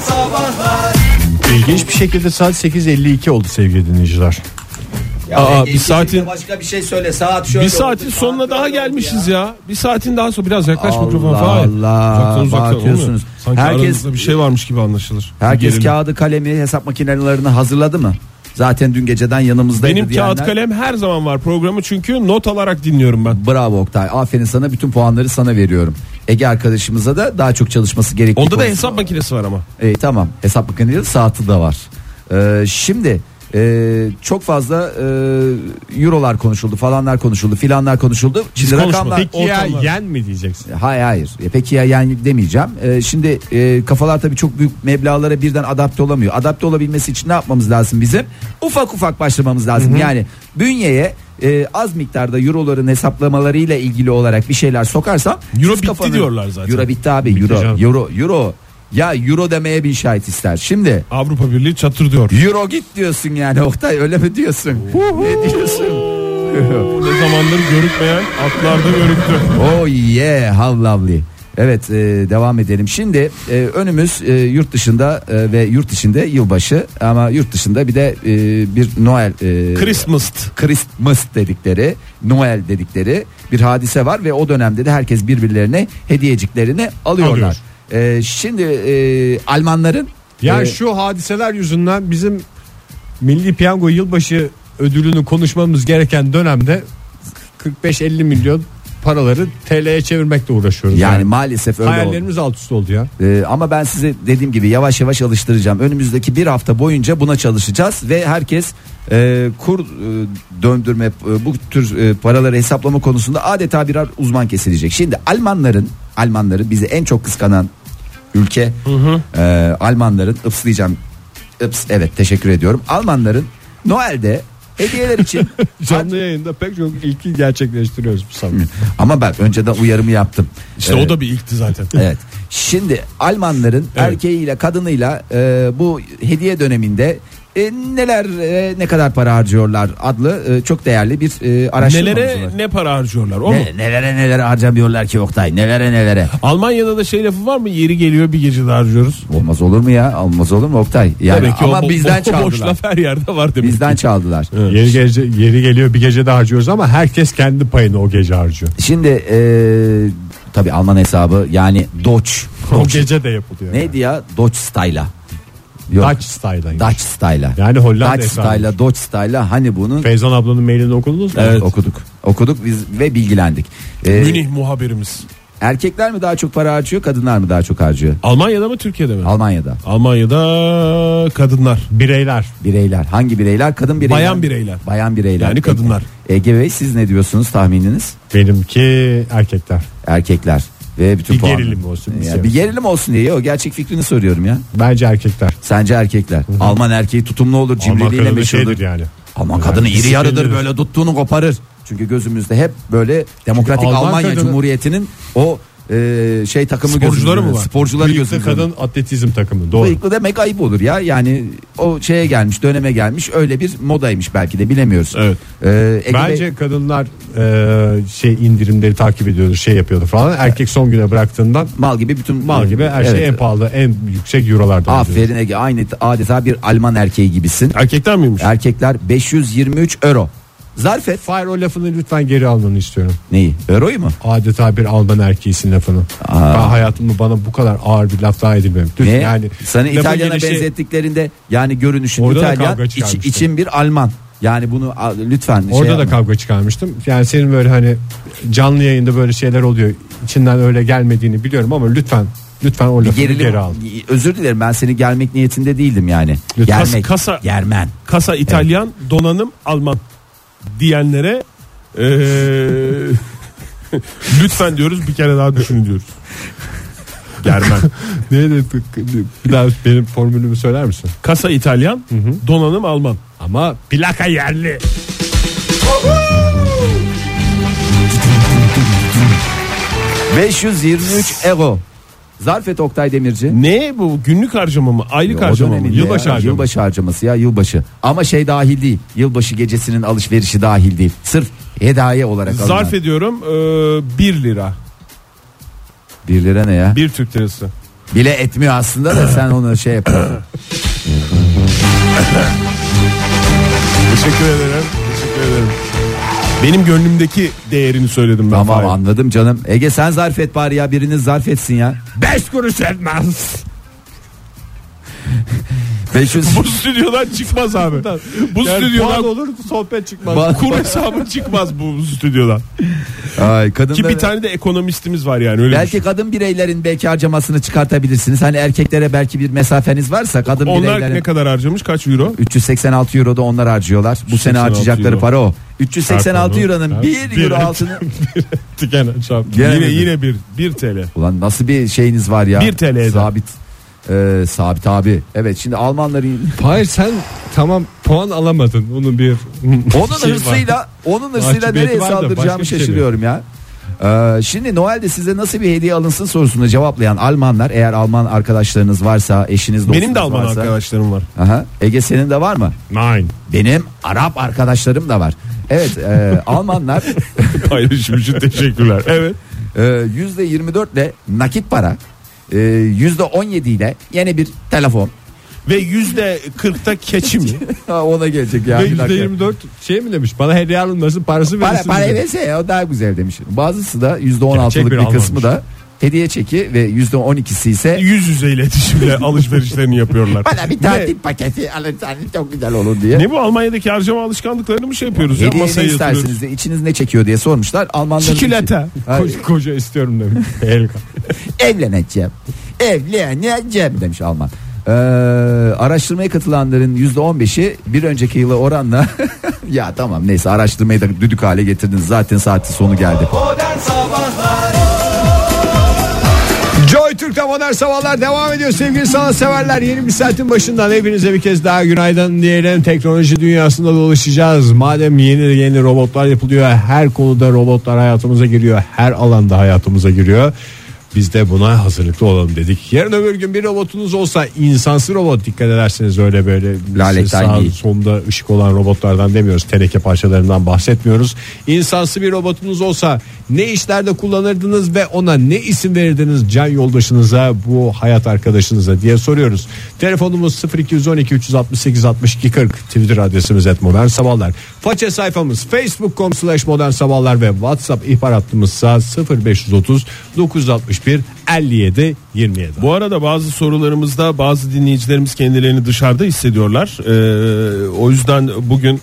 sabahlar. İlginç bir şekilde saat 8.52 oldu sevgili dinleyiciler. Ya Aa, Ege, bir git saatin- de başka bir şey söyle saat şöyle. Bir saatin oldu, saat sonuna daha böyle oldu gelmişiz ya. ya. Bir saatin daha sonra biraz yaklaş mikrofona Allah Fahir. Allah, Uzaktan uzaktan, bağırtıyorsunuz. olmuyor. Sanki Herkes- aranızda bir şey varmış gibi anlaşılır. Herkes Gerilim. kağıdı kalemi hesap makinelerini hazırladı mı? Zaten dün geceden yanımızdaydı Benim diyenler- kağıt kalem her zaman var programı çünkü not alarak dinliyorum ben. Bravo Oktay. Aferin sana bütün puanları sana veriyorum. Ege arkadaşımıza da daha çok çalışması gerektiği Onda da konusunda- hesap makinesi var ama. E, tamam hesap makinesi saati de var. E, şimdi e, çok fazla e, eurolar konuşuldu falanlar konuşuldu filanlar konuşuldu. Şimdi konuşmadık. rakamlar... Peki ya Ortamlar. yen mi diyeceksin? Hayır hayır. E, Peki ya yani demeyeceğim. E, şimdi e, kafalar tabii çok büyük meblağlara birden adapte olamıyor. Adapte olabilmesi için ne yapmamız lazım bizim? Ufak ufak başlamamız lazım. Yani bünyeye e, az miktarda euroların hesaplamalarıyla ilgili olarak bir şeyler sokarsam Euro siz bitti diyorlar zaten. Euro bitti abi. euro canım. euro euro. Ya euro demeye bir şahit ister. Şimdi Avrupa Birliği çatır diyor. euro git diyorsun yani Oktay öyle mi diyorsun? ne diyorsun? ne zamandır görükmeyen atlarda görüktü. Oh yeah how lovely. Evet e, devam edelim. Şimdi e, önümüz e, yurt dışında e, ve yurt içinde yılbaşı ama yurt dışında bir de e, bir Noel e, Christmas. Christmas dedikleri Noel dedikleri bir hadise var ve o dönemde de herkes birbirlerine hediyeciklerini alıyorlar. E, şimdi e, Almanların Ya e, şu hadiseler yüzünden bizim Milli Piyango yılbaşı ödülünü konuşmamız gereken dönemde 45-50 milyon paraları TL'ye çevirmekle uğraşıyoruz. yani, maalesef öyle oldu. Hayallerimiz alt üst oldu ya. Ee, ama ben size dediğim gibi yavaş yavaş alıştıracağım. Önümüzdeki bir hafta boyunca buna çalışacağız ve herkes e, kur e, döndürme e, bu tür e, paraları hesaplama konusunda adeta birer uzman kesilecek. Şimdi Almanların Almanların bizi en çok kıskanan ülke e, Almanların ıpslayacağım. Ips, evet teşekkür ediyorum. Almanların Noel'de hediyeler için Canlı yayında pek çok ilki gerçekleştiriyoruz bu sabah. ama ben önceden uyarımı yaptım. Ee, İşte o da bir ilkti zaten. Evet. Şimdi Almanların erkeğiyle kadınıyla e, bu hediye döneminde e, neler e, ne kadar para harcıyorlar adlı e, çok değerli bir e, araştırma. Nelere mevzuları. ne para harcıyorlar o mu? Ne- nelere neler harcamıyorlar ki Oktay nelere nelere. Almanya'da da şey lafı var mı? Yeri geliyor bir gece de harcıyoruz. Olmaz olur mu ya olmaz olur mu Oktay. Yani, Demek ki ama o, bo- bizden o boş çaldılar. laf her yerde var demek. Bizden çaldılar. Yeri, gece, yeri geliyor bir gece de harcıyoruz ama herkes kendi payını o gece harcıyor. Şimdi e, tabi Alman hesabı yani Dutch. O Dutch. gece de yapılıyor. Neydi ya Dutch style'a. Yok. Dutch style'dan. Dutch style'a. Yani Hollanda Dutch hesabı. style'a Dutch style'a hani bunun Feyzan ablanın mailini okudunuz mu? Evet. Okuduk. Okuduk biz ve bilgilendik. Ee, Münih muhabirimiz. erkekler mi daha çok para harcıyor, kadınlar mı daha çok harcıyor? Almanya'da mı Türkiye'de mi? Almanya'da Almanya'da kadınlar. Bireyler. bireyler hangi bireyler? Kadın bireyler. Bayan bireyler. Bayan bireyler. Yani kadınlar. E- Ege Bey siz ne diyorsunuz tahmininiz? Benimki erkekler. Erkekler ve bütün Bir puanlar. gerilim olsun, bir Ya, şey bir gerilim olsun diye o gerçek fikrini soruyorum ya. Bence erkekler. Sence erkekler Alman erkeği tutumlu olur, cimriliğiyle kadını meşhurdur. şeydir yani. Ama Yani kadını iri yarıdır disiplinlidir. böyle tuttuğunu koparır. Çünkü gözümüzde hep böyle demokratik Çünkü Alman Almanya kadını- Cumhuriyeti'nin o e, şey takımı Sporcuları gözümüzde, mı var? Sporcuları Bıyıklı gözümüzde. kadın atletizm takımı. Doğru. Bıyıklı demek ayıp olur ya. Yani o şeye gelmiş, döneme gelmiş. Öyle bir modaymış belki de bilemiyoruz. Evet. Ee, Ege Bey- Bence kadınlar e, şey indirimleri takip ediyordu, şey yapıyordu falan. Erkek son güne bıraktığından mal gibi bütün mal gibi her şey Evet. en pahalı, en yüksek eurolarda. alıyor. Aferin Ege. Aynı adeta bir Alman erkeği gibisin. Erkekler miymiş? Erkekler 523 euro. Zarf et. Fire o lafını lütfen geri almanı istiyorum. Neyi? Euroyu mu? Adeta bir Alman erkeğisin lafını. Ben hayatımda bana bu kadar ağır bir laf daha edilmemiş. Düz Ne? yani Sana lafın İtalyan'a gelişi- benzettiklerinde yani görünüşün Orada da İtalyan, kavga iç- çıkarmıştı. için bir Alman. Yani bunu a, lütfen şey Orada da yapma. kavga çıkarmıştım. Yani senin böyle hani canlı yayında böyle şeyler oluyor. İçinden öyle gelmediğini biliyorum ama lütfen lütfen o lafı Gerilim- geri al. Özür dilerim ben seni gelmek niyetinde değildim yani. Lütfen. Germek, Kasa- germen. Kasa İtalyan, donanım Alman diyenlere eee, lütfen diyoruz bir kere daha düşünün diyoruz. Germen. Neydi? Bir daha benim formülümü söyler misin? Kasa İtalyan, donanım Alman. Ama plaka yerli. Uhu! 523 euro. Zarf et Oktay Demirci. Ne bu günlük harcama mı? Aylık O harcama mı? döneminde Yılbaşı ya, harcama mı? Yılbaşı harcaması ya yılbaşı. Ama şey dahil değil. Yılbaşı gecesinin alışverişi dahil değil. Sırf hediye olarak alınan. Zarf ediyorum eee, 1 ee, lira. 1 lira ne ya? 1 Türk lirası. Bile etmiyor aslında da sen onu şey yapıyorsun. Teşekkür ederim. Teşekkür ederim. Benim gönlümdeki değerini söyledim ben. tamam Fahir. anladım canım. Ege sen zarf et bari ya biriniz zarf etsin ya. Beş kuruş etmez. 500 Bu stüdyodan çıkmaz abi. Bu stüdyodan olur sohbet çıkmaz. Ba- kur hesabı çıkmaz bu stüdyodan. Ay kadın Ki bir tane de ekonomistimiz var yani öyle. Belki kadın bireylerin belki harcamasını çıkartabilirsiniz. Hani erkeklere belki bir mesafeniz varsa kadın düşün. Onlar bireylerin ne kadar harcamış? Kaç euro? 386 euro da onlar harcıyorlar. Bu sene 386 harcayacakları euro. para o. 386 Çarpı euronun onu. 1 Bir euro et. altını. Tükenen çarpı. Gelemedim. Yine yine bir bir TL. Ulan nasıl bir şeyiniz var ya? Bir TL eder. Sabit. Ee, sabit abi. Evet şimdi Almanların Hayır sen tamam puan alamadın. Onun bir onun şey var. hırsıyla onun hırsıyla Mahcubiyeti nereye var da başka saldıracağımı bir şey şaşırıyorum ya. Ee, şimdi Noel'de size nasıl bir hediye alınsın sorusuna cevaplayan Almanlar eğer Alman arkadaşlarınız varsa eşiniz dostunuz Benim de Alman varsa- arkadaşlarım var. Aha. Ege senin de var mı? Nine. Benim Arap arkadaşlarım da var. Evet e, Almanlar Paylaşım için teşekkürler. Evet. e, %24 ile nakit para e, %17 ile yeni bir telefon. Ve yüzde kırkta keçi mi? Ha, Ona gelecek ya. Ve bir dakika. %24 şey mi demiş? Bana hediye alınmasın parası Para, verirsin. para dedi. verse ya o daha güzel demiş. Bazısı da %16'lık Gerçek bir bir kısmı da hediye çeki ve %12'si ise E, Yüz yüze iletişimle alışverişlerini yapıyorlar. bana bir tatil paketi alırsan çok güzel olur diye. Ne bu Almanya'daki harcama alışkanlıklarını mı şey yapıyoruz ya? Hediye ne Masaya yatırıyoruz. istersiniz de içiniz ne çekiyor diye sormuşlar. Almanların Çikolata. Ha, Koca, koca istiyorum demiş. Harika. evleneceğim. Evleneceğim demiş Alman. Ee, araştırmaya katılanların %15'i bir önceki yıla oranla ya tamam neyse araştırmayı da düdük hale getirdiniz zaten saati sonu geldi. Modern Sabahlar Joy Türk'te modern sabahlar devam ediyor sevgili sanatseverler. Yeni bir saatin başından hepinize bir kez daha günaydın diyelim. Teknoloji dünyasında dolaşacağız. Madem yeni yeni robotlar yapılıyor. Her konuda robotlar hayatımıza giriyor. Her alanda hayatımıza giriyor. Biz de buna hazırlıklı olalım dedik. Yarın öbür gün bir robotunuz olsa insansı robot dikkat ederseniz öyle böyle Lale sağ Tangi. sonunda ışık olan robotlardan demiyoruz. Teneke parçalarından bahsetmiyoruz. İnsansı bir robotunuz olsa ne işlerde kullanırdınız ve ona ne isim verirdiniz can yoldaşınıza bu hayat arkadaşınıza diye soruyoruz. Telefonumuz 0212 368 62 40 Twitter adresimiz et modern sabahlar. Faça sayfamız facebook.com slash modern sabahlar ve whatsapp ihbar hattımızsa 0530 961 57 27. Bu arada bazı sorularımızda bazı dinleyicilerimiz kendilerini dışarıda hissediyorlar. Ee, o yüzden bugün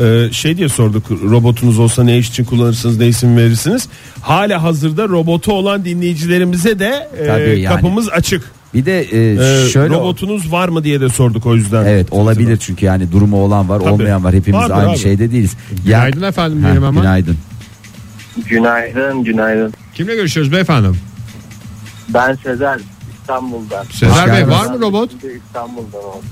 e, şey diye sorduk robotunuz olsa ne iş için kullanırsınız ne isim verirsiniz. Hala hazırda robotu olan dinleyicilerimize de e, Tabii yani. kapımız açık. Bir de e, Ee, şöyle robotunuz var mı diye de sorduk o yüzden. Evet olabilir çünkü yani durumu olan var Tabii. olmayan var hepimiz Vardır aynı abi. şeyde değiliz. Ya- Günaydın efendim Ha, benim ama. Günaydın. Günaydın, günaydın. Kimle görüşüyoruz beyefendim? Ben Sezer, İstanbul'dan. Sezer Bey, var mı robot? Ben de İstanbul'dan oldum.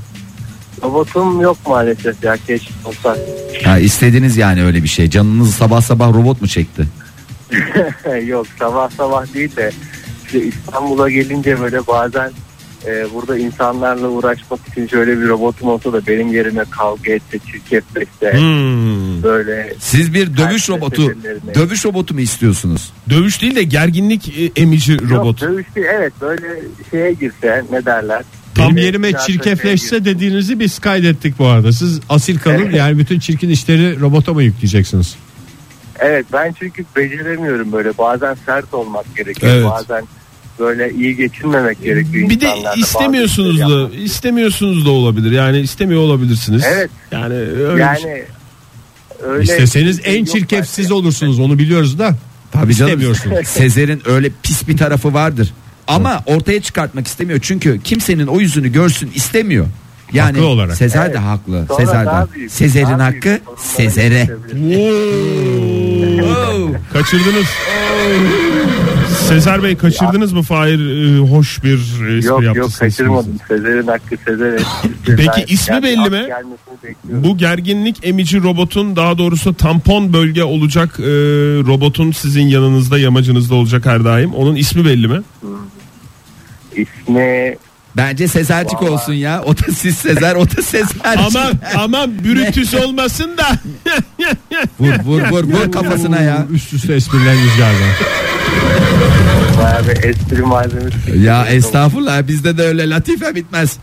Robotum yok maalesef ya keşke olsa. Ha, istediniz yani öyle bir şey. Canınız sabah sabah robot mu çekti? yok sabah sabah değil de işte İstanbul'a gelince böyle bazen e, burada insanlarla uğraşmak için şöyle bir robotum olsa da benim yerime kavga etse, çirkefse işte Hmm. böyle Siz bir dövüş Herkes robotu, birbirlerine. dövüş robotu mu istiyorsunuz? Dövüş değil de gerginlik e, emici robot. Yok, dövüştü evet böyle şeye girse ne derler. Tam Böyle yerime piyasaya girse. çirkefleşse dediğinizi biz kaydettik bu arada. Siz asil kalın Evet. yani bütün çirkin işleri robota mı yükleyeceksiniz? Evet ben çünkü beceremiyorum böyle bazen sert olmak gerekiyor Evet. bazen böyle iyi geçinmemek gerekiyor. Bir de insanlarla bazı istemiyorsunuz işleri da yapmak. istemiyorsunuz da olabilir. Yani istemiyor olabilirsiniz. Evet. Yani öyle bir şey. Yani öyle İsteseniz bir şey en yok çirkef bence. siz olursunuz onu biliyoruz da. Tabii canım. İstemiyorsunuz. Sezer'in öyle pis bir tarafı vardır. Ama ortaya çıkartmak istemiyor. Çünkü kimsenin o yüzünü görsün istemiyor. Yani Haklı olarak. Sezer de Evet. haklı. Sonra Sezer de. daha büyük- Sezer'in daha büyük hakkı sorunlara Sezer'e. geçebilir. Oo. Kaçırdınız. Sezer Bey kaçırdınız mı Fahir e, hoş bir espri Yok yok yaptınız. kaçırmadım. Sezer'in hakkı Sezer'e. Peki ismi belli mi? Bu Bu gerginlik emici robotun daha doğrusu tampon bölge olacak e, robotun sizin yanınızda yamacınızda olacak her daim. Onun ismi belli mi? ismi Bence Sezercik Vallahi. olsun ya. O da siz Sezer, o da Sezercik. aman aman bürütüs olmasın da. Vur vur vur vur kafasına ya. Üst üste espriler rüzgarda. Bayağı bir espri malzemesi. Ya estağfurullah bizde de öyle latife bitmez.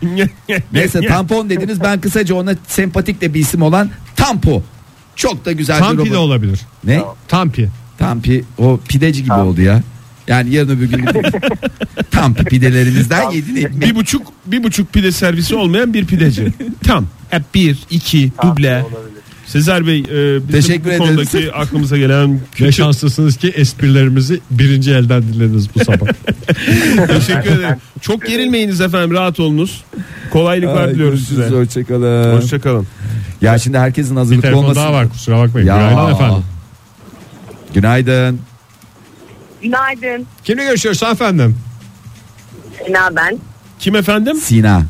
Neyse tampon dediniz ben kısaca ona sempatik de bir isim olan Tampo. Çok da güzel bir Tampi de robot. olabilir. Ne? Tampi. Tampi o pideci gibi Tampi. oldu ya. Yani yarın öbür gün Tampi pidelerimizden Tampi. yedin ekmek. bir buçuk bir buçuk pide servisi olmayan bir pideci. Tam. Hep bir, iki, Tamam, duble. olabilir. Sezer Bey, e, bizim Teşekkür bu ederiz. konudaki aklımıza gelen Ne şanslısınız ki esprilerimizi birinci elden dinlediniz bu sabah. teşekkür ederim. Çok gerilmeyiniz efendim, rahat olunuz. Kolaylıklar Ay, diliyoruz size. görüşürüz, Hoşçakalın. Hoşçakalın. Ya şimdi herkesin hazırlıklı Telefon olması. daha var kusura bakmayın. Ya. Günaydın efendim. Günaydın. Günaydın. Kimle görüşüyoruz efendim? Sena ben. Kim efendim? Sina.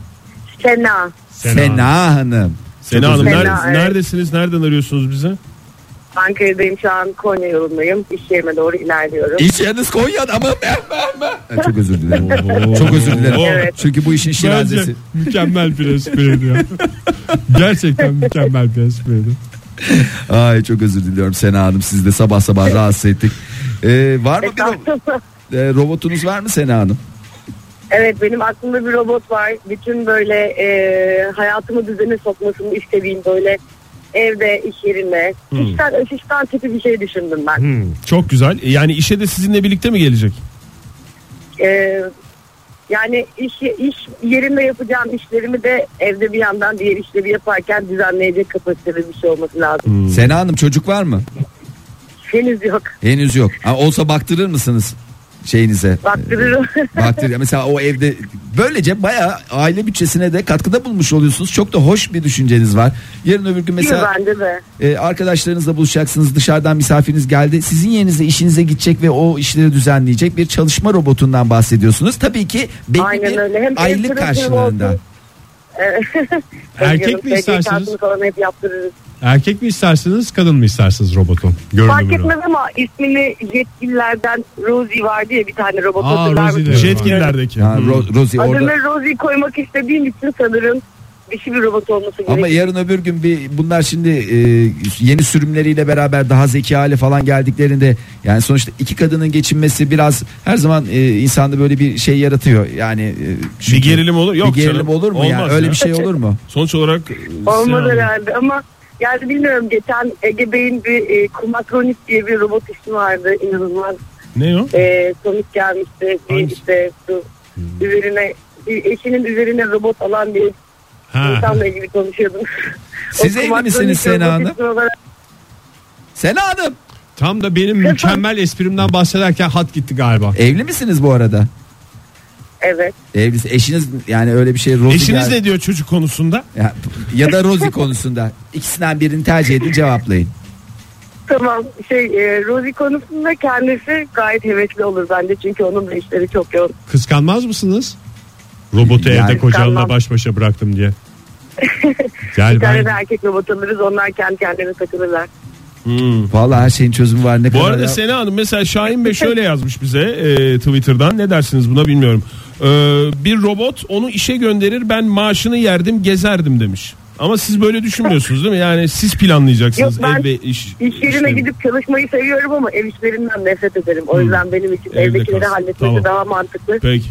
Sena. Sena. Sena, Hanım. Sena Hanım. özür ner- dilerim. Sena, evet. neredesiniz? Nereden arıyorsunuz bizi? Ankara'dayım şu an Konya yolundayım. İş yerime doğru ilerliyorum. İş yeriniz Konya'da mı? Ben, ben, ben. Çok özür dilerim. Çok özür dilerim. Evet. Çünkü bu işin şirazesi. mükemmel bir espriydi ya. Gerçekten mükemmel bir espriydi. Ay çok özür diliyorum Sena Hanım. Siz de sabah sabah rahatsız ettik. Ee, var mı bir ro- Ee, robotunuz var mı Sena Hanım? evet benim aklımda bir robot var. Bütün böyle e, hayatımı düzene sokmasını istediğim böyle evde, iş yerinde. Hmm. Asistan, asistan tipi bir şey düşündüm ben. Çok güzel. Yani işe de sizinle birlikte mi gelecek? E, yani iş, iş yerinde yapacağım işlerimi de evde bir yandan diğer işleri yaparken düzenleyecek kapasitede bir şey olması lazım. Sena Hanım çocuk var mı? Henüz yok. Henüz yok. Ha, olsa baktırır mısınız şeyinize? Baktırırım. Baktır ya mesela o evde böylece bayağı aile bütçesine de katkıda bulmuş oluyorsunuz. Çok da hoş bir düşünceniz var. Yarın öbür gün Değil mi mesela bence de. e, arkadaşlarınızla buluşacaksınız. Dışarıdan misafiriniz geldi. Sizin yerinize işinize gidecek ve o işleri düzenleyecek bir çalışma robotundan bahsediyorsunuz. Tabii ki belli Aynen öyle. Hem bir aylık elektrik karşılığında. olsun. Evet. Erkek mi Bekliyorum. istersiniz? kartını falan hep yaptırırız. Erkek mi istersiniz kadın mı istersiniz robotun? Fark Görünümünü. etmez ama ismini yetkililerden Rosie vardı ya bir tane robot Aa, hatırlar Rosie mısın? Evet. de. Jetkillerdeki. Yani Hmm. Ro- Rosie Adını orada Rosie koymak istediğim için sanırım dişi bir robot olması Ama gerekiyor. yarın öbür gün bir bunlar şimdi e, yeni sürümleriyle beraber daha zeki hale falan geldiklerinde yani sonuçta iki kadının geçinmesi biraz her zaman e, insanda böyle bir şey yaratıyor. Yani e, çünkü- Bir gerilim olur. Yok bir gerilim canım. olur mu Olmaz ya? ya. Öyle bir şey olur mu? Sonuç olarak e, Sena Olmaz Hanım. herhalde ama yani bilmiyorum geçen Ege Bey'in bir e, Kumakronik diye bir robot ismi vardı. İnanılmaz Ne o? e, komik gelmişti. Bir Hangisi? işte şu Hmm. üzerine bir eşinin üzerine robot alan bir Ha. insanla ilgili konuşuyordum. Siz O evli kumakronik misiniz Sena robot Hanım? ismi olarak Sena Hanım Tam da benim mükemmel esprimden bahsederken hat gitti galiba. evli misiniz bu arada? Evet. Evlisi eşiniz yani öyle bir şey Rosie Eşiniz gel- ne diyor çocuk konusunda? ya, ya da Rosie konusunda ikisinden birini tercih edin cevaplayın. Tamam şey e, Rosie konusunda kendisi gayet hevesli olur bence çünkü onun da işleri çok yoğun. Kıskanmaz mısınız? Robotu Yani evde kocanla kıskanmam. baş başa bıraktım diye. Yani Bir tane de ben erkek robot alırız onlar kendi kendine takılırlar. Vallahi her şeyin çözümü var ne Bu kadar. arada ya- Sena Hanım mesela Şahin Bey şöyle yazmış bize e, Twitter'dan ne dersiniz buna bilmiyorum. Ee, bir robot onu işe gönderir ben maaşını yerdim gezerdim demiş. Ama siz böyle düşünmüyorsunuz değil mi? Yani siz planlayacaksınız Yok, ben ev ve iş. İş yerine işlerini. gidip çalışmayı seviyorum ama ev işlerinden nefret ederim. O yüzden benim için Evde evdekileri kalsın. halletmesi Tamam. daha mantıklı. Peki.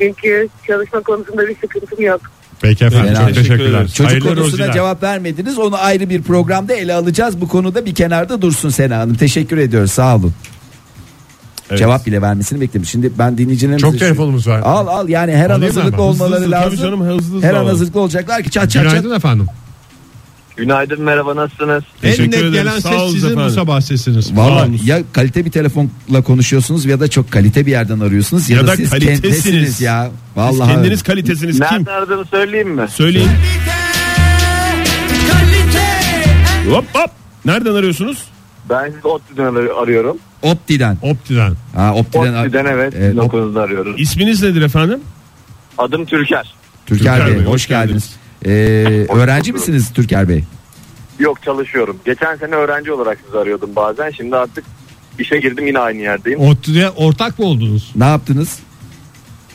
Çünkü çalışma konusunda bir sıkıntım yok. Peki efendim Sena çok Hanım. teşekkürler. Teşekkür Çocuk Hayırlı konusuna roziler. cevap vermediniz. Onu ayrı bir programda ele alacağız. Bu konuda bir kenarda dursun Sena Hanım. Teşekkür ediyoruz. Sağ olun. Evet. Cevap bile vermesini bekledim. Şimdi ben dinleyicilerimize... Çok telefonumuz var. Al al yani her an Alayım hazırlıklı ben. Hızlı olmaları Hızlı, tabii lazım. canım, hızlı hızlı her an alalım. hazırlıklı olacaklar ki çat çat çat. Günaydın efendim. Günaydın merhaba nasılsınız? En Teşekkür net ederim. gelen Sağ ses olun sizin bu efendim. sabah sesiniz. Valla Sağ olun. ya kalite bir telefonla konuşuyorsunuz ya da çok kalite bir yerden arıyorsunuz ya, Ya da, da siz kalitesiniz. kendisiniz ya. Siz Vallahi kendiniz kalitesiniz kim? Nerede aradığımı söyleyeyim mi? Söyleyin. Hop hop. Nereden arıyorsunuz? Ben sizi ODTÜ'den ar- arıyorum. Opti'den. Opti'den. Ha, Opti'den. E, ODTÜ'den evet Evet, sizin okulunuzda arıyoruz. İsminiz nedir efendim? Adım Türker. Türker, Türker Bey, Bey, hoş, hoş geldiniz. Ee, öğrenci misiniz Türker Bey? Yok çalışıyorum. Geçen sene öğrenci olarak sizi arıyordum bazen. Şimdi artık işe girdim yine aynı yerdeyim. Opti'de ortak mı oldunuz? Ne yaptınız?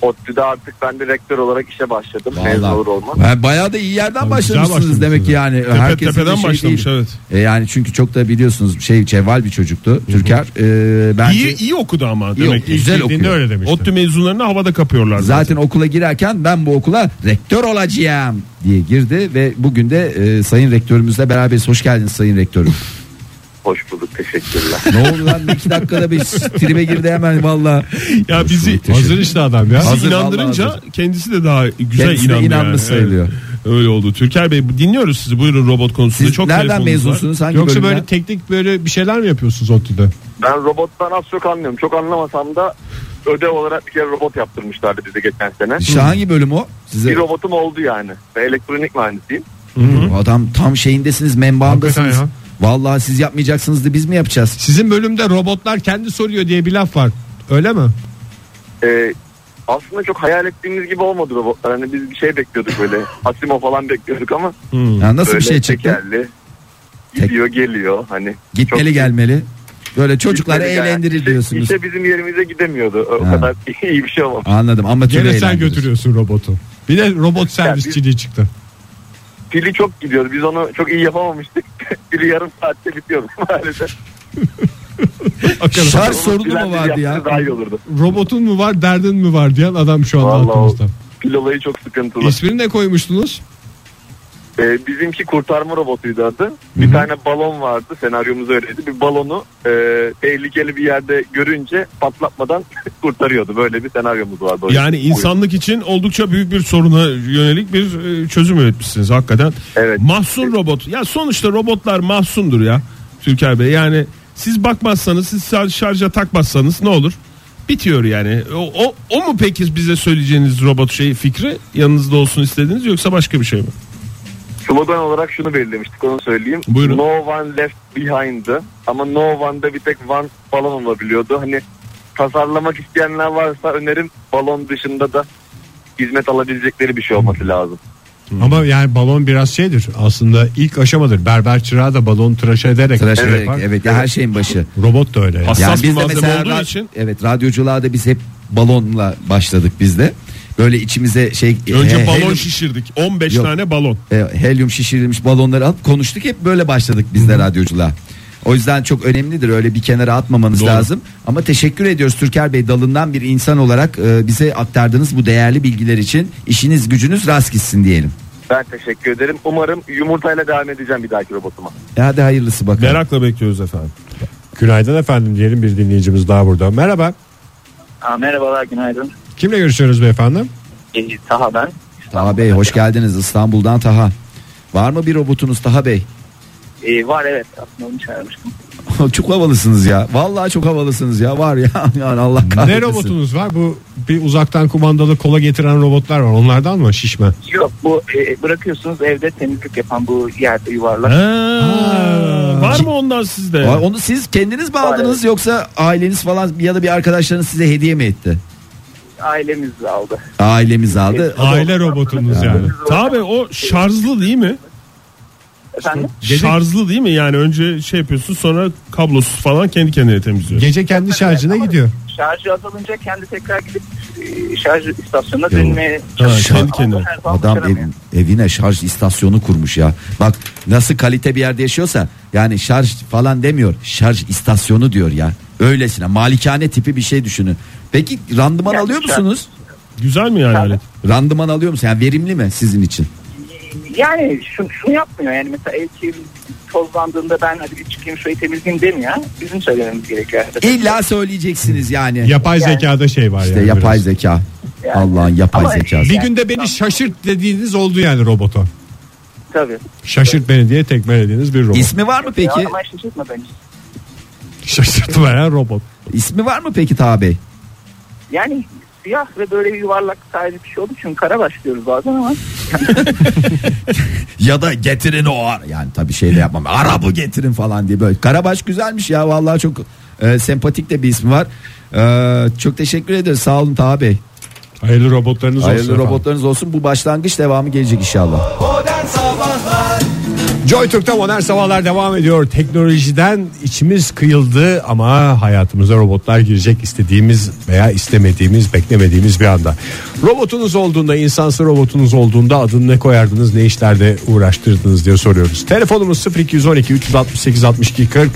ODTÜ'de artık ben de rektör olarak işe başladım. Mezun Vallahi. olur Şey, olmaz. Yani bayağı da iyi yerden Tabii, güzel başlamışsınız başlamışsınız demek ki yani. Tepe Herkesin de tepeden şey başlamış, değil. evet. E yani çünkü çok da biliyorsunuz şey cevval bir çocuktu Türker. E, bence İyi, iyi okudu ama demek ki. güzel Bildiğinde okuyor. öyle demişti. ODTÜ mezunlarını havada kapıyorlar. Zaten okula girerken ben bu okula rektör olacağım diye girdi ve bugün de e, sayın rektörümüzle beraberiz. Hoş geldiniz sayın rektörüm. Hoş bulduk teşekkürler. ne oldu lan iki dakikada bir tribe girdi hemen valla. Ya bizi Teşekkür Hazır işte adam ya. bizi Hazır, inandırınca vallahi kendisi de daha güzel Kendisi de inandı. inanmış yani. sayılıyor. Evet. Öyle oldu. Türker Bey dinliyoruz sizi. Buyurun robot konusunda. Siz Çok nereden telefonunuz var. mezunsunuz? Hangi Yoksa bölümden? böyle teknik böyle bir şeyler mi yapıyorsunuz ODTÜ'de? ben robottan az çok anlıyorum. Çok anlamasam da ödev olarak bir kere robot yaptırmışlardı bize geçen sene. İşte hangi bölüm o? Size Bir robotum oldu yani. Ve elektronik mühendisiyim. adam tam şeyindesiniz, menbaındasınız. Hakikaten Vallahi siz yapmayacaksınız da biz mi yapacağız? Sizin bölümde robotlar kendi soruyor diye bir laf var. Öyle mi? Ee, aslında çok hayal ettiğimiz gibi olmadı robotlar. Hani biz bir şey bekliyorduk böyle. Asimo falan bekliyorduk ama Ya nasıl böyle bir şey çıktı? tekerli. Gidiyor geliyor hani. Gitmeli Çok- gelmeli. Böyle çocukları Gitmeli gel- eğlendirir İşte- diyorsunuz. İşte bizim yerimize gidemiyordu. O Ha. kadar iyi bir şey olmadı. Anladım ama türlü Gene sen eğlendirir. götürüyorsun robotu. Bir de robot servisçiliği çıktı. Pili çok gidiyordu. Biz onu çok iyi yapamamıştık. Pili yarım saatte bitiyordu maalesef. Hakikaten. Şarj Onu sorunu mu bilen biri vardı ya? yapsa Daha iyi olurdu. Robotun mu var derdin mi var diyen adam şu anda Vallahi o- aklımızda. Pil olayı çok sıkıntılı. İsmini ne koymuştunuz? Ee, bizimki kurtarma robotuydu adı. Bir tane balon vardı. Senaryomuz öyleydi. Bir balonu e, tehlikeli bir yerde görünce patlatmadan kurtarıyordu. Böyle bir senaryomuz vardı. O Yani yüzden. insanlık için oldukça büyük bir soruna yönelik bir e, çözüm üretmişsiniz hakikaten. Evet. Mahzun robot. Ya sonuçta robotlar mahsundur ya Türker Bey. Yani siz bakmazsanız, siz şar- şarja takmazsanız ne olur? Bitiyor yani. O, o, o mu peki bize söyleyeceğiniz robot şeyi fikri yanınızda olsun istediğiniz yoksa başka bir şey mi? Slogan olarak şunu belirlemiştik onu söyleyeyim. Buyurun. No one left behind'dı. Ama no one'da bir tek one balon olabiliyordu. Hani tasarlamak isteyenler varsa önerim balon dışında da hizmet alabilecekleri bir şey olması lazım. Ama yani balon biraz şeydir. Aslında ilk aşamadır. Berber çırağı da balon tıraş ederek. Tıraş şey ederek, yapar. evet ya her şey- şeyin başı. Robot da öyle. yani. Hassas Yani bir biz de malzeme mesela olduğu ra- için. evet radyoculuğa da biz hep balonla başladık biz de. Böyle içimize şey Önce he- balon helyum- şişirdik. 15 Yok. tane balon. e, helyum şişirilmiş balonları alıp konuştuk hep böyle başladık biz de radyoculuğa. O yüzden çok önemlidir öyle bir kenara atmamanız Doğru. lazım. Ama teşekkür ediyoruz Türker Bey dalından bir insan olarak e, bize aktardığınız bu değerli bilgiler için işiniz gücünüz rast gitsin diyelim. Ben teşekkür ederim. Umarım yumurtayla devam edeceğim bir dahaki robotuma. E, hadi hayırlısı bakalım. Merakla bekliyoruz efendim. Günaydın efendim diyelim bir dinleyicimiz daha burada. Merhaba. Aa, merhabalar günaydın. Kimle görüşüyoruz beyefendi? Ee, Taha ben. Taha Bey hoş geldiniz İstanbul'dan Taha. Var mı bir robotunuz Taha Bey? Ee, var evet aslında onu çağırmıştım. çok havalısınız ya. Vallahi çok havalısınız ya. Var ya. Yani Allah kahretsin. Ne robotunuz var? Bu bir uzaktan kumandalı kola getiren robotlar var. Onlardan mı şişme? Yok bu e, bırakıyorsunuz evde temizlik yapan bu yerde yuvarlak. var mı ondan sizde? Var, Onu siz kendiniz mi aldınız yoksa aileniz falan ya da bir arkadaşlarınız size hediye mi etti? Ailemiz de aldı. Ailemiz aldı. Aile robotunuz yani. Tabii o şarjlı değil mi? Efendim? Şarjlı değil mi? Yani önce şey yapıyorsun sonra kablosuz falan kendi kendine temizliyor. Gece kendi şarjına gidiyor. Şarjı azalınca kendi tekrar gidip e, şarj istasyonuna dönmeye Ha, çalışıyor. kendi kendine. Her zaman Adam çıkaramıyor. ev- evine şarj istasyonu kurmuş ya. Bak nasıl kalite bir yerde yaşıyorsa yani şarj falan demiyor. Şarj istasyonu diyor ya. Öylesine malikane tipi bir şey düşünün. Peki randıman Yani alıyor şarj- musunuz? Güzel mi yani? alet? Randıman alıyor musunuz? Yani verimli mi sizin için? Yani şunu, şunu yapmıyor yani mesela ev kirli- tozlandığında ben hadi bir çıkayım şurayı temizleyeyim demiyor. Bizim söylememiz gerekiyor. İlla söyleyeceksiniz yani. Yapay Yani. zekada şey var İşte yani. yapay biraz. zeka. Yani. Allah'ın yapay Ama- zekası. Bir günde beni şaşırt dediğiniz oldu yani robota. Tabii. Şaşırt beni diye tekmelediğiniz bir robot. İsmi var mı peki? Ya, ama şaşırtma beni. Şaşırtmayan robot. İsmi var mı peki Taha Bey? Yani siyah ve böyle yuvarlak sadece bir şey olduğu için kara başlıyoruz bazen ama Ya da getirin o ara. Yani tabii şey de yapmam. Arabı getirin falan diye böyle. Karabaş güzelmiş ya vallahi çok e, sempatik de bir ismi var. E, çok teşekkür ederiz. Sağ olun Taha Bey. Hayırlı robotlarınız olsun. Hayırlı efendim. robotlarınız olsun. Bu başlangıç devamı gelecek inşallah. Modern Sabahlar Joy Türk'te modern sabahlar devam ediyor. Teknolojiden içimiz kıyıldı ama hayatımıza robotlar girecek istediğimiz veya istemediğimiz, beklemediğimiz bir anda. Robotunuz olduğunda, insansı robotunuz olduğunda adını ne koyardınız, ne işlerde uğraştırdınız diye soruyoruz. Telefonumuz 0212 368 62 40.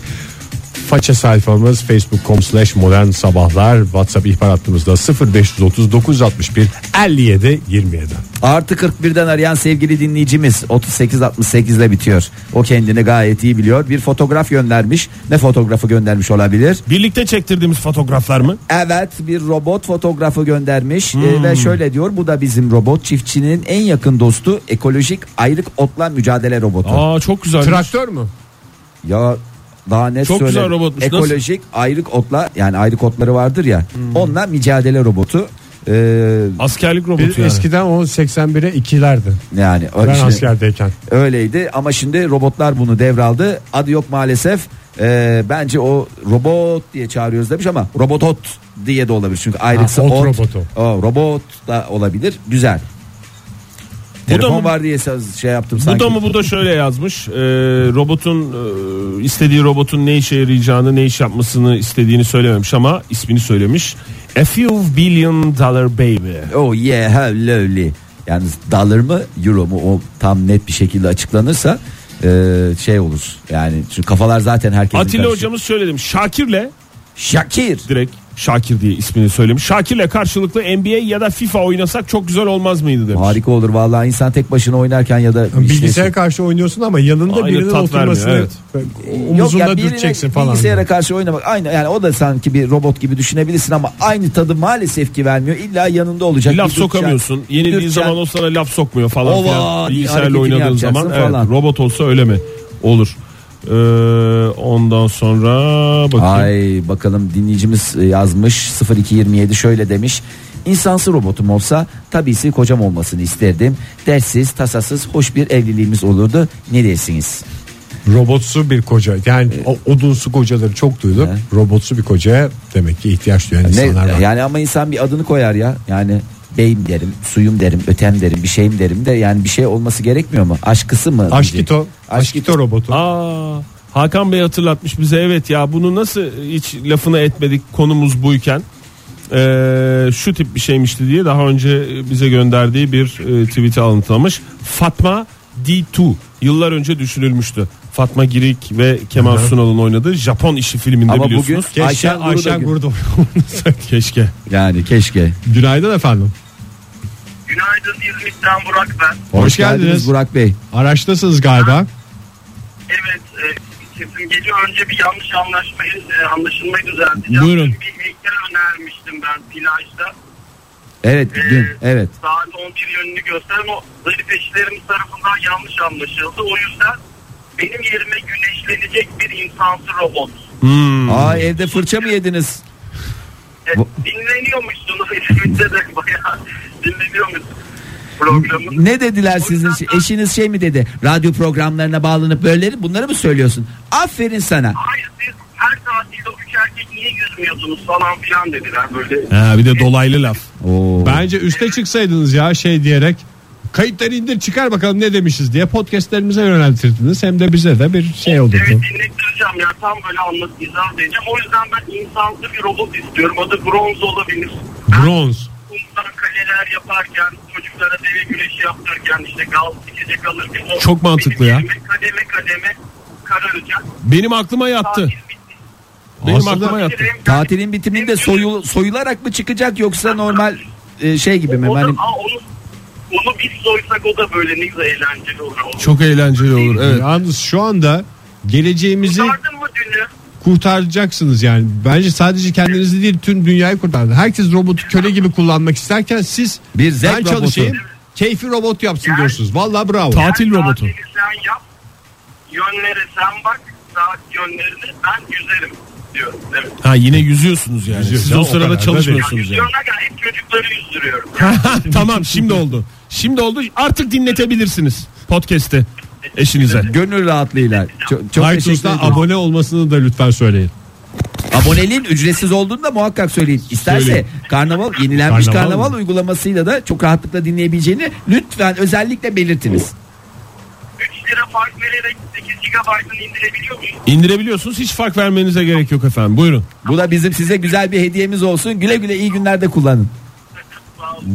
Faça sayfamız facebook.com slash modern sabahlar whatsapp ihbar hattımızda 0530 961 57 27 Artı 41'den arayan sevgili dinleyicimiz 3868 ile bitiyor. O kendini gayet iyi biliyor. Bir fotoğraf göndermiş. Ne fotoğrafı göndermiş olabilir? Birlikte çektirdiğimiz fotoğraflar mı? Evet bir robot fotoğrafı göndermiş Ee, Hmm. ve şöyle diyor bu da bizim robot çiftçinin en yakın dostu ekolojik ayrık otla mücadele robotu. Aa çok güzel. Traktör mü? Ya daha net Çok söyleyeyim. güzel robotmuş. Nasıl? Hmm. Ekolojik ayrık otla yani ayrık otları vardır ya onunla mücadele robotu. Ee, Askerlik robotu Bir yani. eskiden o 81'e 2'lerdi. yani o Ben işin- askerdeyken. öyleydi ama şimdi robotlar bunu devraldı. Adı yok maalesef. Ee, bence o robot diye çağırıyoruz demiş ama robotot diye de olabilir. Çünkü ayrıksa Ha, ot ot, robotu. O, robot da olabilir. Güzel. Telefon mı- var diye söz- şey yaptım Bu sanki. da mı bu da şöyle yazmış. Ee, robotun e, istediği robotun ne işe yarayacağını, ne iş yapmasını istediğini söylememiş ama ismini söylemiş. A few billion dollar baby. Oh yeah how lovely. Yalnız dollar mı euro mu o tam net bir şekilde açıklanırsa e, şey olur. Yani çünkü kafalar zaten herkesin Atilla karışık. hocamız şöyle demiş. Şakir'le Şakir. direkt Şakir diye ismini söylemiş. Şakir'le karşılıklı NBA ya da FIFA oynasak çok güzel olmaz mıydı demiş. Harika olur vallahi insan tek başına oynarken ya da işte- Bilgisayara karşı oynuyorsun ama yanında Hayır, birinin tat oturmasını vermiyor, omuzunda ya birine- dürteceksin falan. Bilgisayara karşı oynamak aynı yani o da sanki bir robot gibi düşünebilirsin ama aynı tadı maalesef ki vermiyor. İlla yanında olacak. Laf Bir dürteceksin, sokamıyorsun. Yenildiği dürteceksin. zaman o sana laf sokmuyor falan Ova filan. diye Bilgisayarla hareketini oynadığın yapacaksın zaman evet, falan. robot olsa öyle mi? Olur. Ee, ondan sonra bakayım. Ay bakalım dinleyicimiz e, yazmış 0227 şöyle demiş. İnsansı robotum olsa tabisi kocam olmasını isterdim. Dersiz, tasasız, hoş bir evliliğimiz olurdu. Ne dersiniz? Robotsu bir koca yani o odunsu kocaları çok duydum. Robotsu bir kocaya demek ki ihtiyaç duyan Ne, insanlar var. yani ama insan bir adını koyar ya. Yani beyim derim, suyum derim, ötem derim, bir şeyim derim de yani bir şey olması gerekmiyor mu? Aşkısı mı? Aşkito, Aşkito. Aşkito robotu. Aa, Hakan Bey hatırlatmış bize evet ya bunu nasıl hiç lafını etmedik konumuz buyken Ee, şu tip bir şeymişti diye daha önce bize gönderdiği bir e, tweet'i alıntılamış. Fatma D2 yıllar önce düşünülmüştü. Fatma Girik ve Kemal Sunal'ın oynadığı Japon işi filminde Ama bugün biliyorsunuz. Keşke Ayşen Ayşen, Guru da gö- Gurda Keşke. Yani keşke. Günaydın efendim. Günaydın İzmit'ten Burak ben. Hoş geldiniz. Burak Bey. Araçtasınız galiba. Evet e, sesim geliyor. Önce bir yanlış anlaşmayı, e, anlaşılmayı düzelteceğim. Buyurun. Bir heykel önermiştim ben plajda. Evet Ee, dün evet. Saat 11 yönünü gösteren o zarif eşlerimiz tarafından yanlış anlaşıldı. O yüzden benim yerime güneşlenecek bir insansı robot. Hmm. Aa evde fırça mı yediniz? E, Bu- dinleniyormuşsunuz. İzmit'te de bayağı dinleniyormuşsunuz programı. Ne dediler sizin eşiniz şey mi dedi? Radyo programlarına bağlanıp böyle bunları mı söylüyorsun? Aferin sana. Hayır siz her tatilde o üç erkek niye yüzmüyorsunuz falan filan dediler böyle. Ha, bir de dolaylı laf. Oo. Bence üste çıksaydınız ya şey diyerek kayıtları indir çıkar bakalım ne demişiz diye podcastlerimize yöneltirdiniz. Hem de bize de bir şey olurdu. Evet dinlettireceğim ya tam böyle anlat izah edeceğim. O yüzden ben insansı bir robot istiyorum. Adı bronz olabilir. Bronz. Kumdan kaleler yaparken, çocuklara deve güreşi yaptırırken, işte gaz içecek alırken. o Çok mantıklı benim ya. elime Kademe kademe kararacak. Benim aklıma yattı. Tatil bitti. Benim Aslında- aklıma yattı. Bitirelim. Tatilin bitiminde soyul, soyularak mı çıkacak yoksa normal e, şey gibi mi? O da, Hani- aa, onu, onu biz soysak o da böyle ne güzel eğlenceli olur. Çok eğlenceli olur. Evet. Yalnız şu anda geleceğimizi Kurtardın mı dünü? kurtaracaksınız yani. Bence sadece kendinizi değil tüm dünyayı kurtardınız. Herkes robotu köle gibi kullanmak isterken siz Bir zevk ben robotu. çalışayım. Keyfi robot yapsın diyorsunuz. Vallahi bravo. Tatil Sen robotu. tatili sen yap. Yönlere sen bak. Saat yönlerini ben yüzerim diyorum. Evet. Ha yine yüzüyorsunuz yani. Yüzüyoruz. Siz Ya, o o sırada kadar da çalışmıyorsunuz yani. Yüzüyorum aga hep çocukları yüzdürüyorum. tamam şimdi oldu. Şimdi oldu. Artık dinletebilirsiniz podcast'i eşinize. Gönül rahatlığıyla. Çok, çok teşekkür iTunes'ta ederim. abone olmasını da lütfen söyleyin. Aboneliğin ücretsiz olduğunu da muhakkak söyleyin. İsterse Söyleyin. karnaval yenilenmiş Karnaval karnaval, mı? uygulamasıyla da çok rahatlıkla dinleyebileceğini lütfen özellikle belirtiniz. Üçlü lira fark vererek 8 GB'ını indirebiliyor muyum? İndirebiliyorsunuz hiç fark vermenize gerek yok efendim. Buyurun. Bu da bizim size güzel bir hediyemiz olsun. Güle güle iyi günlerde kullanın.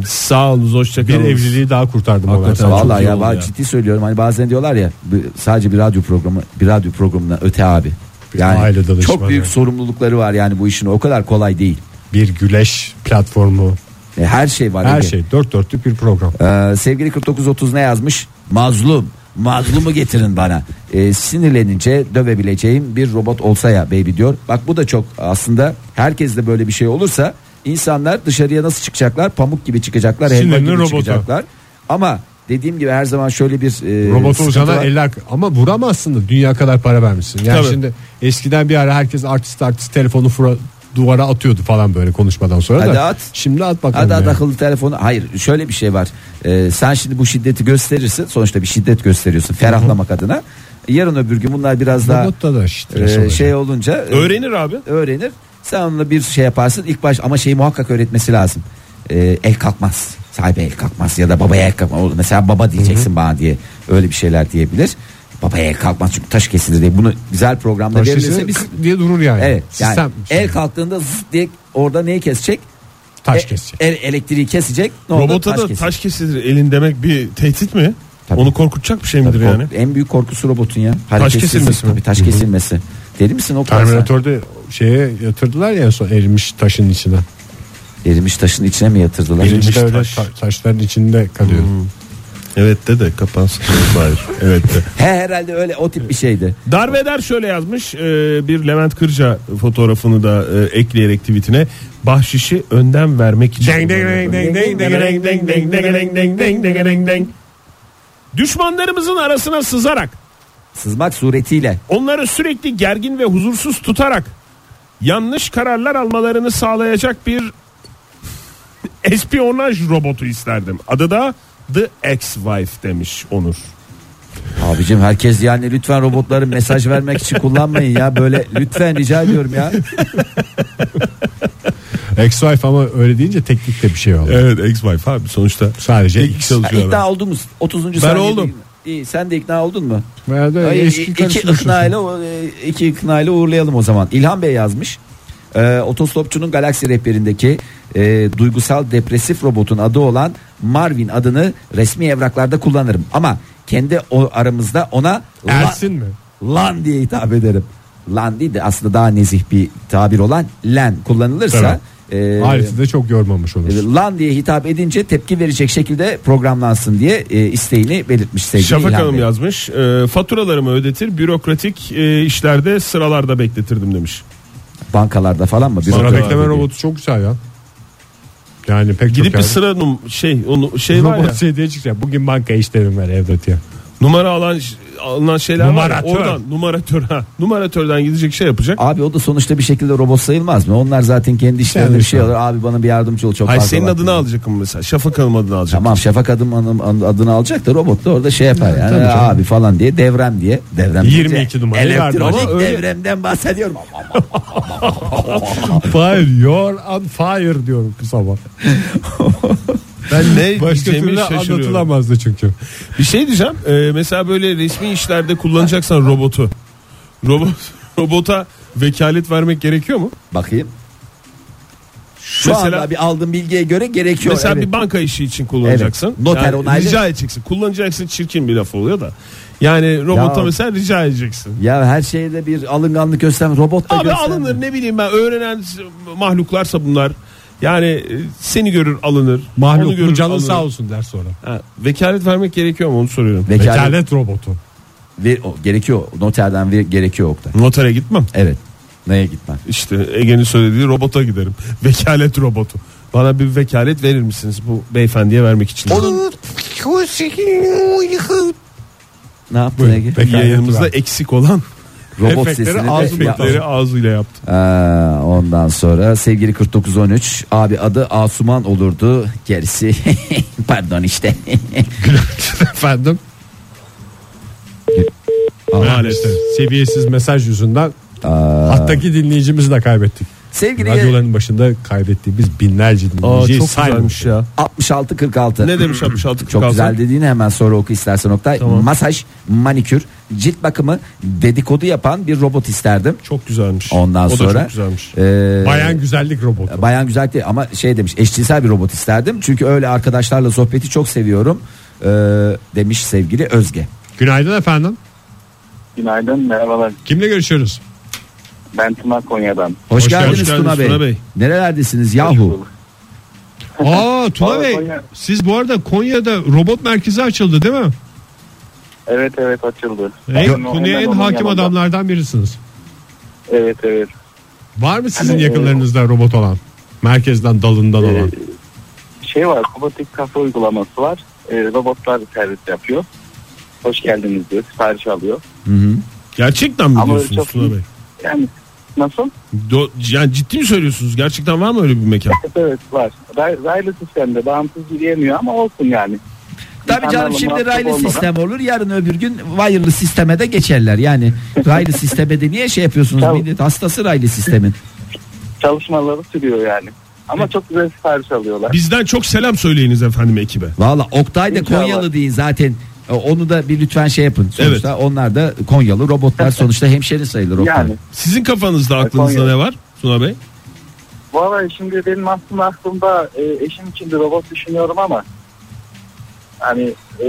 Sağ olunuz Bir hoşçakalın. evliliği daha kurtardım. Hakikaten ben sana. vallahi iyi ya, oldu ben ya. ciddi söylüyorum. Hani bazen diyorlar ya bir- sadece bir radyo programı bir radyo programına öte abi. Yani aile danışmanı. çok büyük sorumlulukları var yani bu işin o kadar kolay değil. Bir güleş platformu. E, her şey var. Her Ege. şey dört dörtlük bir program. Ee, sevgili 4930 ne yazmış? Mazlum. Mazlumu getirin bana. Ee, sinirlenince dövebileceğim bir robot olsa ya baby diyor. Bak bu da çok aslında herkeste böyle bir şey olursa insanlar dışarıya nasıl çıkacaklar? Pamuk gibi çıkacaklar, helva Sinirli gibi robota. çıkacaklar. Ama dediğim gibi her zaman şöyle bir e, Robot sıkıntı olacağına var. eller ama vuramazsın da dünya kadar para vermişsin. Yani Tabii. şimdi eskiden bir ara herkes artist artist telefonu fura, duvara atıyordu falan böyle konuşmadan sonra Hadi da. at. Şimdi at bakalım. Hadi yani. hadi akıllı telefonu. Hayır şöyle bir şey var. Ee, sen şimdi bu şiddeti gösterirsin. Sonuçta bir şiddet gösteriyorsun ferahlamak adına. Yarın öbür gün bunlar biraz daha Robotta da e, stres oluyor. şey olunca e, Öğrenir abi. öğrenir. Sen onunla bir şey yaparsın. İlk baş ama şeyi muhakkak öğretmesi lazım. Ee, el kalkmaz. Sahibi el kalkmaz ya da babaya el kalkmaz. Oğlum Mesela baba diyeceksin bana diye öyle bir şeyler diyebilir. Babaya el kalkmaz çünkü taş kesilir diye. Bunu güzel programda Taş verilirse sesi biz kık diye durur yani. Evet. Yani Sistem şey, el kalktığında zıt diye orada neyi kesecek? taş E- kesecek. el- elektriği kesecek. Ne oldu? Robota da kesecek. taş kesilir elin demek bir tehdit mi? Tabii. Onu korkutacak bir şey Tabii midir kork- yani? En büyük korkusu robotun ya. kesilmesi mi? Tabii taş kesilmesi. Deli misin o kadar? sen? Terminatörde şeye yatırdılar ya en son erimiş taşın içine. Erimiş taşın içine mi yatırdılar? Birinci de öyle taş. ta- taşların içinde kalıyor. Evet de de kapansın. Hayır. Evet de. He herhalde öyle o tip bir şeydi. Darveder şöyle yazmış e, bir Levent Kırca fotoğrafını da e, ekleyerek tweetine bahşişi önden vermek için. Düşmanlarımızın arasına sızarak Sızmak suretiyle. onları sürekli gergin ve huzursuz tutarak yanlış kararlar almalarını sağlayacak bir espiyonaj robotu isterdim. Adı da The Ex-Wife demiş Onur. Abicim herkes yani lütfen robotları mesaj vermek için kullanmayın ya. Böyle lütfen rica ediyorum ya. Ex-wife ama öyle deyince teknikte bir şey oldu. Evet Ex-Wife abi sonuçta Sadece İlk X. çalışıyor adam. ikna oldunuz. 30. Ben oldum. İyi sen de ikna oldun mu? Ben de Ay, eski iki karısını ikna ile e, iki ikna ile uğurlayalım o zaman. İlhan Bey yazmış. Ee, otostopçunun galaksi rehberindeki e, duygusal depresif robotun adı olan Marvin adını resmi evraklarda kullanırım. Ama kendi o aramızda ona la- Ersin mi? lan diye hitap ederim. Lan değil de aslında daha nezih bir tabir olan len kullanılırsa e, Ailesi de çok yormamış olur. e, lan diye hitap edince tepki verecek şekilde programlansın diye e, isteğini belirtmiş sevgili Şafak İlhan Hanım Bey. yazmış. E, faturalarımı ödetir, bürokratik e, işlerde sıralarda bekletirdim demiş. Bankalarda falan mı? Sıra Bakın bekleme abi. robotu çok güzel ya. Yani pek Gidip çok bir yerde- sıra num- şey onu şey var ya. robot şey diye çıkacak. Bugün banka işlerim var evde diye. Numara alan alınan şeyler var. ya, Numaratör. Oradan numaratör ha. Numaratörden gidecek şey yapacak. Abi o da sonuçta bir şekilde robot sayılmaz mı? Onlar zaten kendi işlerinde Yani bir şey işte. alır. Abi bana bir yardımcı ol çok Hayır fazla senin var. adını alacak mı mesela? Şafak Hanım adını alacak. Tamam Şafak adım hanım an- adını alacak da robot da orada şey yapar yani "Ee, abi falan diye devrem diye devrem 22 deyince numarayı verdi ama elektronik öyle- devremden bahsediyorum. Fire you're on fire diyorum bu sabah. Ben ne Başka türlü diyeceğimi şaşırıyorum. anlatılamazdı çünkü. Bir şey diyeceğim. E, mesela böyle resmi işlerde kullanacaksan robotu. Robot robota vekalet vermek gerekiyor mu? Bakayım. Şu Mesela- anda bir aldığım bilgiye göre gerekiyor. Mesela evet. bir banka işi için kullanacaksın. Evet. Noter Yani onaylı. Rica edeceksin. Kullanacaksın çirkin bir laf oluyor da. Yani robota Ya. mesela rica edeceksin. Ya her şeyde bir alınganlık göster robot da Abi göstermiyor. alınır ne bileyim ben öğrenen mahluklarsa bunlar. Yani e, seni görür alınır. onu Mahluk görür, bu canın alınır. sağ olsun der sonra. Ha, vekalet vermek gerekiyor mu onu soruyorum. Vekalet, Vekalet robotu. Ve, o, gerekiyor noterden ve, gerekiyor Oktay. Notere gitmem. Evet. Neye gitmen? İşte Ege'nin söylediği robota giderim. Vekalet robotu. Bana bir vekalet verir misiniz bu beyefendiye vermek için? Onun- Ne yaptın Buyurun. Ege? Vekalet Yayınımızda ver. eksik olan Robot efektleri, sesini de ağzı, yapma. efektleri ağzıyla yaptı. Aa, ondan sonra sevgili 4913 abi adı Asuman olurdu gerisi pardon işte Efendim. Maalesef. Maalesef seviyesiz mesaj yüzünden hattaki dinleyicimizi de kaybettik. Sevgili Radyoların başında kaybettiğimiz binlerce Aa, dinleyiciyi çok güzelmiş ya. 6646. Ne demiş 66 Çok güzel dediğini hemen sonra oku istersen Oktay. Masaj, manikür, cilt bakımı, dedikodu yapan bir robot isterdim. Çok güzelmiş. Ondan o sonra da çok güzelmiş. e, Bayan güzellik robotu. Bayan güzel değil ama şey demiş eşcinsel bir robot isterdim. Çünkü öyle arkadaşlarla sohbeti çok seviyorum e, demiş sevgili Özge. Günaydın efendim. Günaydın, merhabalar. Kimle görüşüyoruz? Ben Tuna Konya'dan. Hoş, Hoş geldiniz, geldiniz Tuna, Bey. Tuna Bey. Nerelerdesiniz yahu? Aa Tuna Aa, Bey Konya. siz bu arada Konya'da robot merkezi açıldı değil mi? Evet evet açıldı. En, Hemen konuya en onun hakim yanında. adamlardan birisiniz. Evet evet. Var mı sizin Hani, e, yakınlarınızda robot olan? Merkezden dalından olan. Ee, şey var, robotik kafe uygulaması var. Ee, robotlar servis yapıyor. Hoş geldiniz diyor, sipariş alıyor. Gerçekten mi Ama diyorsunuz çok- Tuna Bey? Yani nasıl? Do- yani ciddi mi söylüyorsunuz? Gerçekten var mı öyle bir mekan? Evet, Evet var. Ray- Raylı sistemde bağımsız yürüyemiyor ama olsun yani. Tabii canım İnsanlarla şimdi muhatap raylı olmadan- sistem olur yarın öbür gün wireless sisteme de geçerler. Yani raylı sisteme de niye şey yapıyorsunuz Tabii. millet hastası raylı sistemin. Çalışmaları sürüyor yani. Ama çok güzel sipariş alıyorlar. Bizden çok selam söyleyiniz efendim ekibe. Valla Oktay da İnşallah. Konyalı deyin zaten. E, Onu da bir lütfen şey yapın. Sonuçta onlar da Konyalı robotlar sonuçta hemşeri sayılır Oktay. Yani Sizin kafanızda aklınızda Konya. ne var Tuna Bey? Vallahi şimdi benim aslında aklımda e, eşim için bir robot düşünüyorum ama hani e,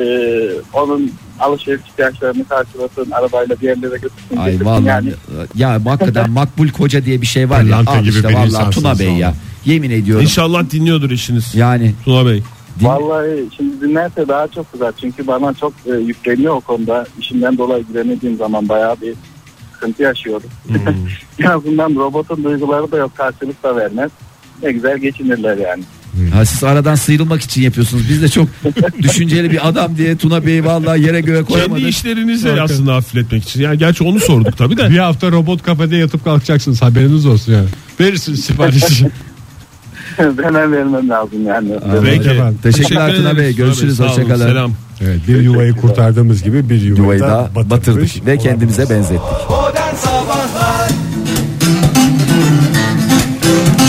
onun alışveriş ihtiyaçlarını karşılasın, arabayla bir yerlere götürsün. Ay getirsin. vallahi Yani ya hakikaten makbul koca diye bir şey var ya. Pırlanta Al gibi işte bir vallahi insansınız Tuna Bey ya. vallahi. Yemin ediyorum. İnşallah dinliyordur eşiniz. Yani Tuna Bey. din- vallahi şimdi dinlerse daha çok güzel. Çünkü bana çok e, yükleniyor o konuda. İşimden dolayı giremediğim zaman bayağı bir sıkıntı yaşıyorum. en azından robotun duyguları da yok, karşılık da vermez. Ne güzel geçinirler yani. ha, siz aradan sıyrılmak için yapıyorsunuz. Biz de çok düşünceli bir adam diye Tuna Bey'i vallahi yere göğe Kendi koyamadık. işlerinizi Zaten. aslında hafifletmek için. Yani gerçi onu sorduk tabii de. Bir hafta robot kafede yatıp kalkacaksınız haberiniz olsun yani. Verirsiniz siparişi. Hemen vermem lazım yani. Peki. efendim. Teşekkürler Teşekkür Tuna ederiz Bey. Görüşürüz. Sağ olun, Hoşçakalın. Selam. evet, bir yuvayı kurtardığımız gibi bir yuvayı, Yuvayı da da batırmış batırdık ve olamaz. kendimize benzettik. Modern Sabahlar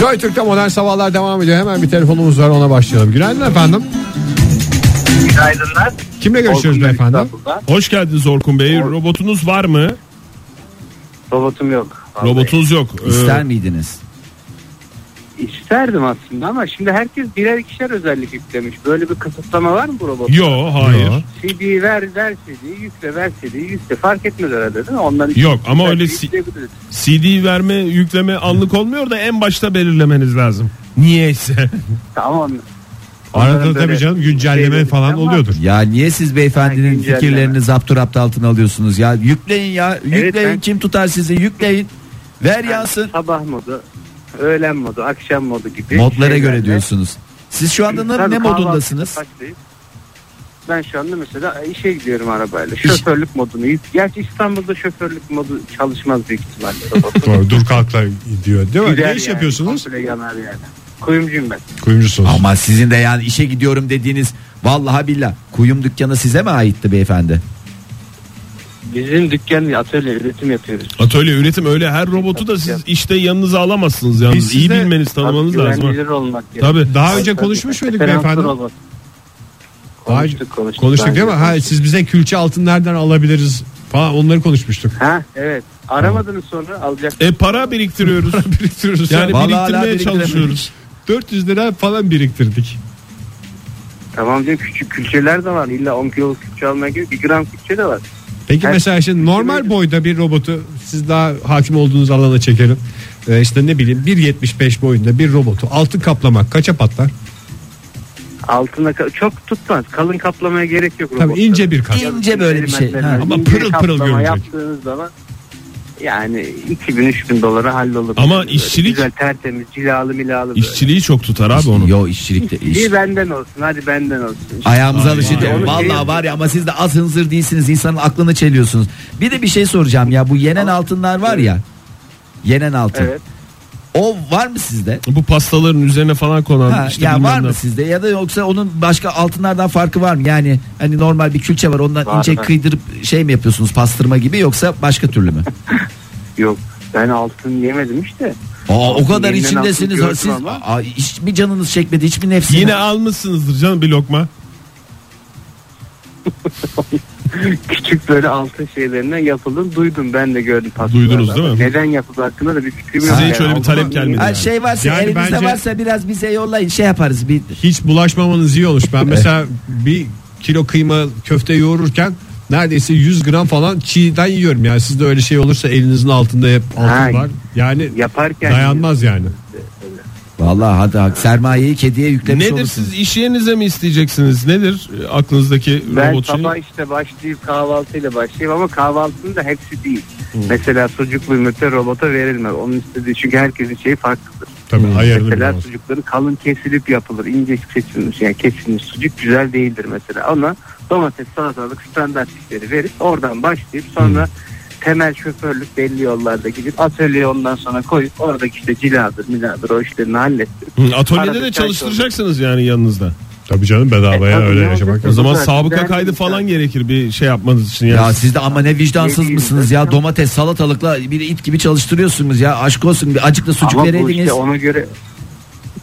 Joy Türk'te modern sabahlar devam ediyor. Hemen bir telefonumuz var ona başlayalım. Günaydın efendim. Günaydınlar. Kimle görüşüyoruz Orkun beyefendi? İstanbul'da. Hoş geldiniz Orkun Bey. Robotunuz var mı? Robotum yok. Vallahi. Robotunuz yok. Ee, İster miydiniz? İsterdim aslında ama şimdi herkes birer ikişer özellik yüklemiş. Böyle bir kısıtlama var mı bu robot? Yo hayır. Yo. CD ver ver CD'yi yükle ver CD'yi yükle fark etmez herhalde değil mi? Onların Yok, ama ikişer öyle CD si- yükleyebiliriz. CD verme yükleme anlık olmuyor da en başta belirlemeniz lazım. Niyeyse. Tamam. Arada Onların tabii böyle canım güncelleme şeyleri- falan Ama oluyordur. Ya niye siz beyefendinin Ha, güncelleme. fikirlerini zaptur altına alıyorsunuz ya? Yükleyin ya. Yükleyin ben- kim tutar sizi? Yükleyin. Ver yansın. Sabah modu, öğlen modu, akşam modu gibi. Modlara göre şeylerle- diyorsunuz. Siz şu anda ne, Tabii ne kahvaltı modundasınız? başlayıp- Ben şu anda mesela e, işe gidiyorum arabayla. Şoförlük modunu. yük- Gerçi İstanbul'da şoförlük modu çalışmaz büyük ihtimalle. robotun. Doğru, dur kalkla diyor değil mi? Gider ne iş yani, yapıyorsunuz? Komple yanar yani. Kuyumcuyum ben. Kuyumcusunuz. Ama sizin de yani işe gidiyorum dediğiniz vallahi billah kuyum dükkanı size mi aitti beyefendi? Bizim dükkan atölye üretim yapıyoruz. Atölye üretim öyle her robotu da siz işte yanınıza alamazsınız yalnız. Biz İyi size- bilmeniz tanımanız Tabii lazım. ha. Güvenilir olmak gerekiyor. Tabii. Daha önce konuşmuş muyduk Referanslar beyefendi? olmak. Daha- Konuştuk konuştuk. Konuştuk değil mi? Daha Ha, önce siz bize külçe altın nereden alabiliriz falan onları konuşmuştuk. Ha evet. Aramadınız sonra alacak. E para biriktiriyoruz. Biriktiriyoruz. yani Vallahi hala biriktirmeye biriktiremedik. çalışıyoruz. 400 lira falan biriktirdik. Tamam diyor küçük külçeler de var. İlla 10 kiloluk külçe almaya gerek. 1 gram külçe de var. Peki Her- mesela şimdi normal boyda bir robotu siz daha hakim olduğunuz alana çekelim. Ee, işte ne bileyim 1.75 boyunda bir robotu altın kaplamak kaça patlar? Altına ka- çok tutmaz. Kalın kaplamaya gerek yok. Tabii robotların. ince bir kat. İnce böyle bir şey. Elementlerden Ha. Ama ince pırıl pırıl kaplama görünecek. Yaptığınız zaman yani 2000-3000 dolara hallolur. Ama Böyle işçilik- Güzel tertemiz cilalı milalı böyle. İşçiliği çok tutar abi onun. Yo işçilikte iş. İyi benden olsun hadi benden olsun. Ayağımıza Ay, alışın. ay, ay. Vallahi var ya ama siz de az hınzır değilsiniz. İnsanın aklını çeliyorsunuz. Bir de bir şey soracağım ya bu yenen altınlar var ya. Yenen altın. Evet. O var mı sizde? Bu pastaların üzerine falan konan Ha, işte ya bilmem var ne. mı sizde ya da yoksa onun başka altınlardan farkı var mı? Yani hani normal bir külçe var ondan Var, ince var. kıydırıp şey mi yapıyorsunuz pastırma gibi yoksa başka türlü mü? Yok ben altın yemedim işte. Aa, o kadar Elinden içindesiniz. altın Ha, Siz, gördüm ama. aa, hiç mi canınız çekmedi? Hiç mi nefsiniz? Yine almışsınızdır canım bir lokma. Küçük böyle altın şeylerinden yapıldım. Duydum ben de gördüm. Duydunuz pastalarda. değil mi? Neden yapıldı hakkında da bir fikrim yok. Size yani. hiç öyle bir talep gelmedi. Her yani. şey varsa Yani elinizde bence- varsa biraz bize yollayın. Şey yaparız bir Hiç bulaşmamanız iyi olmuş. Ben mesela bir kilo kıyma köfte yoğururken neredeyse 100 gram falan çiğden yiyorum. Yani sizde öyle şey olursa elinizin altında hep altın Ha, var. Yani Yaparken dayanmaz yani. Vallahi hadi hak sermayeyi kediye yüklemiş Nedir olursunuz. siz iş yerinize mi isteyeceksiniz? Nedir e, aklınızdaki Ben robot şey? sabah işte başlayıp kahvaltıyla başlayayım ama kahvaltının da hepsi değil. Mesela sucuklu yumurta robota verilmez. Onun istediği çünkü herkesin şeyi farklıdır. Tabii Hmm. ayarını Mesela bilmez. sucukları kalın kesilip yapılır. ince kesilmiş yani kesilmiş sucuk güzel değildir mesela. Ona domates, salatalık standart işleri verip oradan başlayıp sonra temel şoförlük belli yollarda gidip atölyeye ondan sonra koyup oradaki işte ciladır, miladır o işlerini hallettirip. Hı, Atölyede Arada de çay çalıştıracaksınız yani yanınızda. Tabii canım bedavaya E, tabii öyle ne yaşamak olacak? O lazım. zaman zaten sabıka ben- kaydı falan gerekir bir şey yapmanız için. Ya Yani. siz de ama ne vicdansız Yediğimde- mısınız ya domates salatalıkla bir it gibi çalıştırıyorsunuz ya aşk olsun bir acıkla sucuk Ama bu vereydiniz. işte ona göre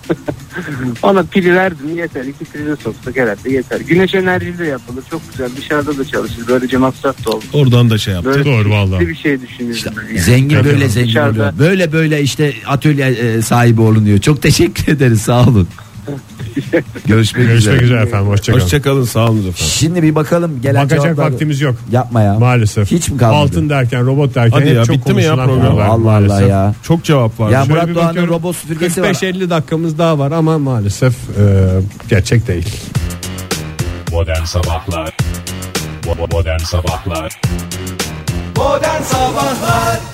ona pili verdim yeter iki prize soksak herhalde yeter. Güneş enerjisi de yapılır çok güzel dışarıda da çalışır böylece masraf da olur. Oradan da şey yaptı. Böyle Doğru valla. bir şey düşünüyorum. İşte yani. zengin böyle zengin Dışarıda- oluyor. Böyle böyle işte atölye e, sahibi olunuyor. Çok teşekkür ederiz sağ olun. Görüşmek, Görüşmek üzere. üzere efendim. Hoşçakalın. Hoşçakalın sağ olun efendim. Şimdi bir bakalım gelen Bakacak cevaplar. vaktimiz yok. Yapma ya. Maalesef. Hiç mi kalmadı? Altın derken robot derken Hadi hep ya çok bitti mi ya konuşulan program? konular Allah maalesef. Allah ya. Çok cevap var. Ya Şöyle Murat bir Doğan'ın bakıyorum. robot süpürgesi var. 45-50 dakikamız daha var ama maalesef e, gerçek değil. Modern Sabahlar Bo- Modern Sabahlar Modern Sabahlar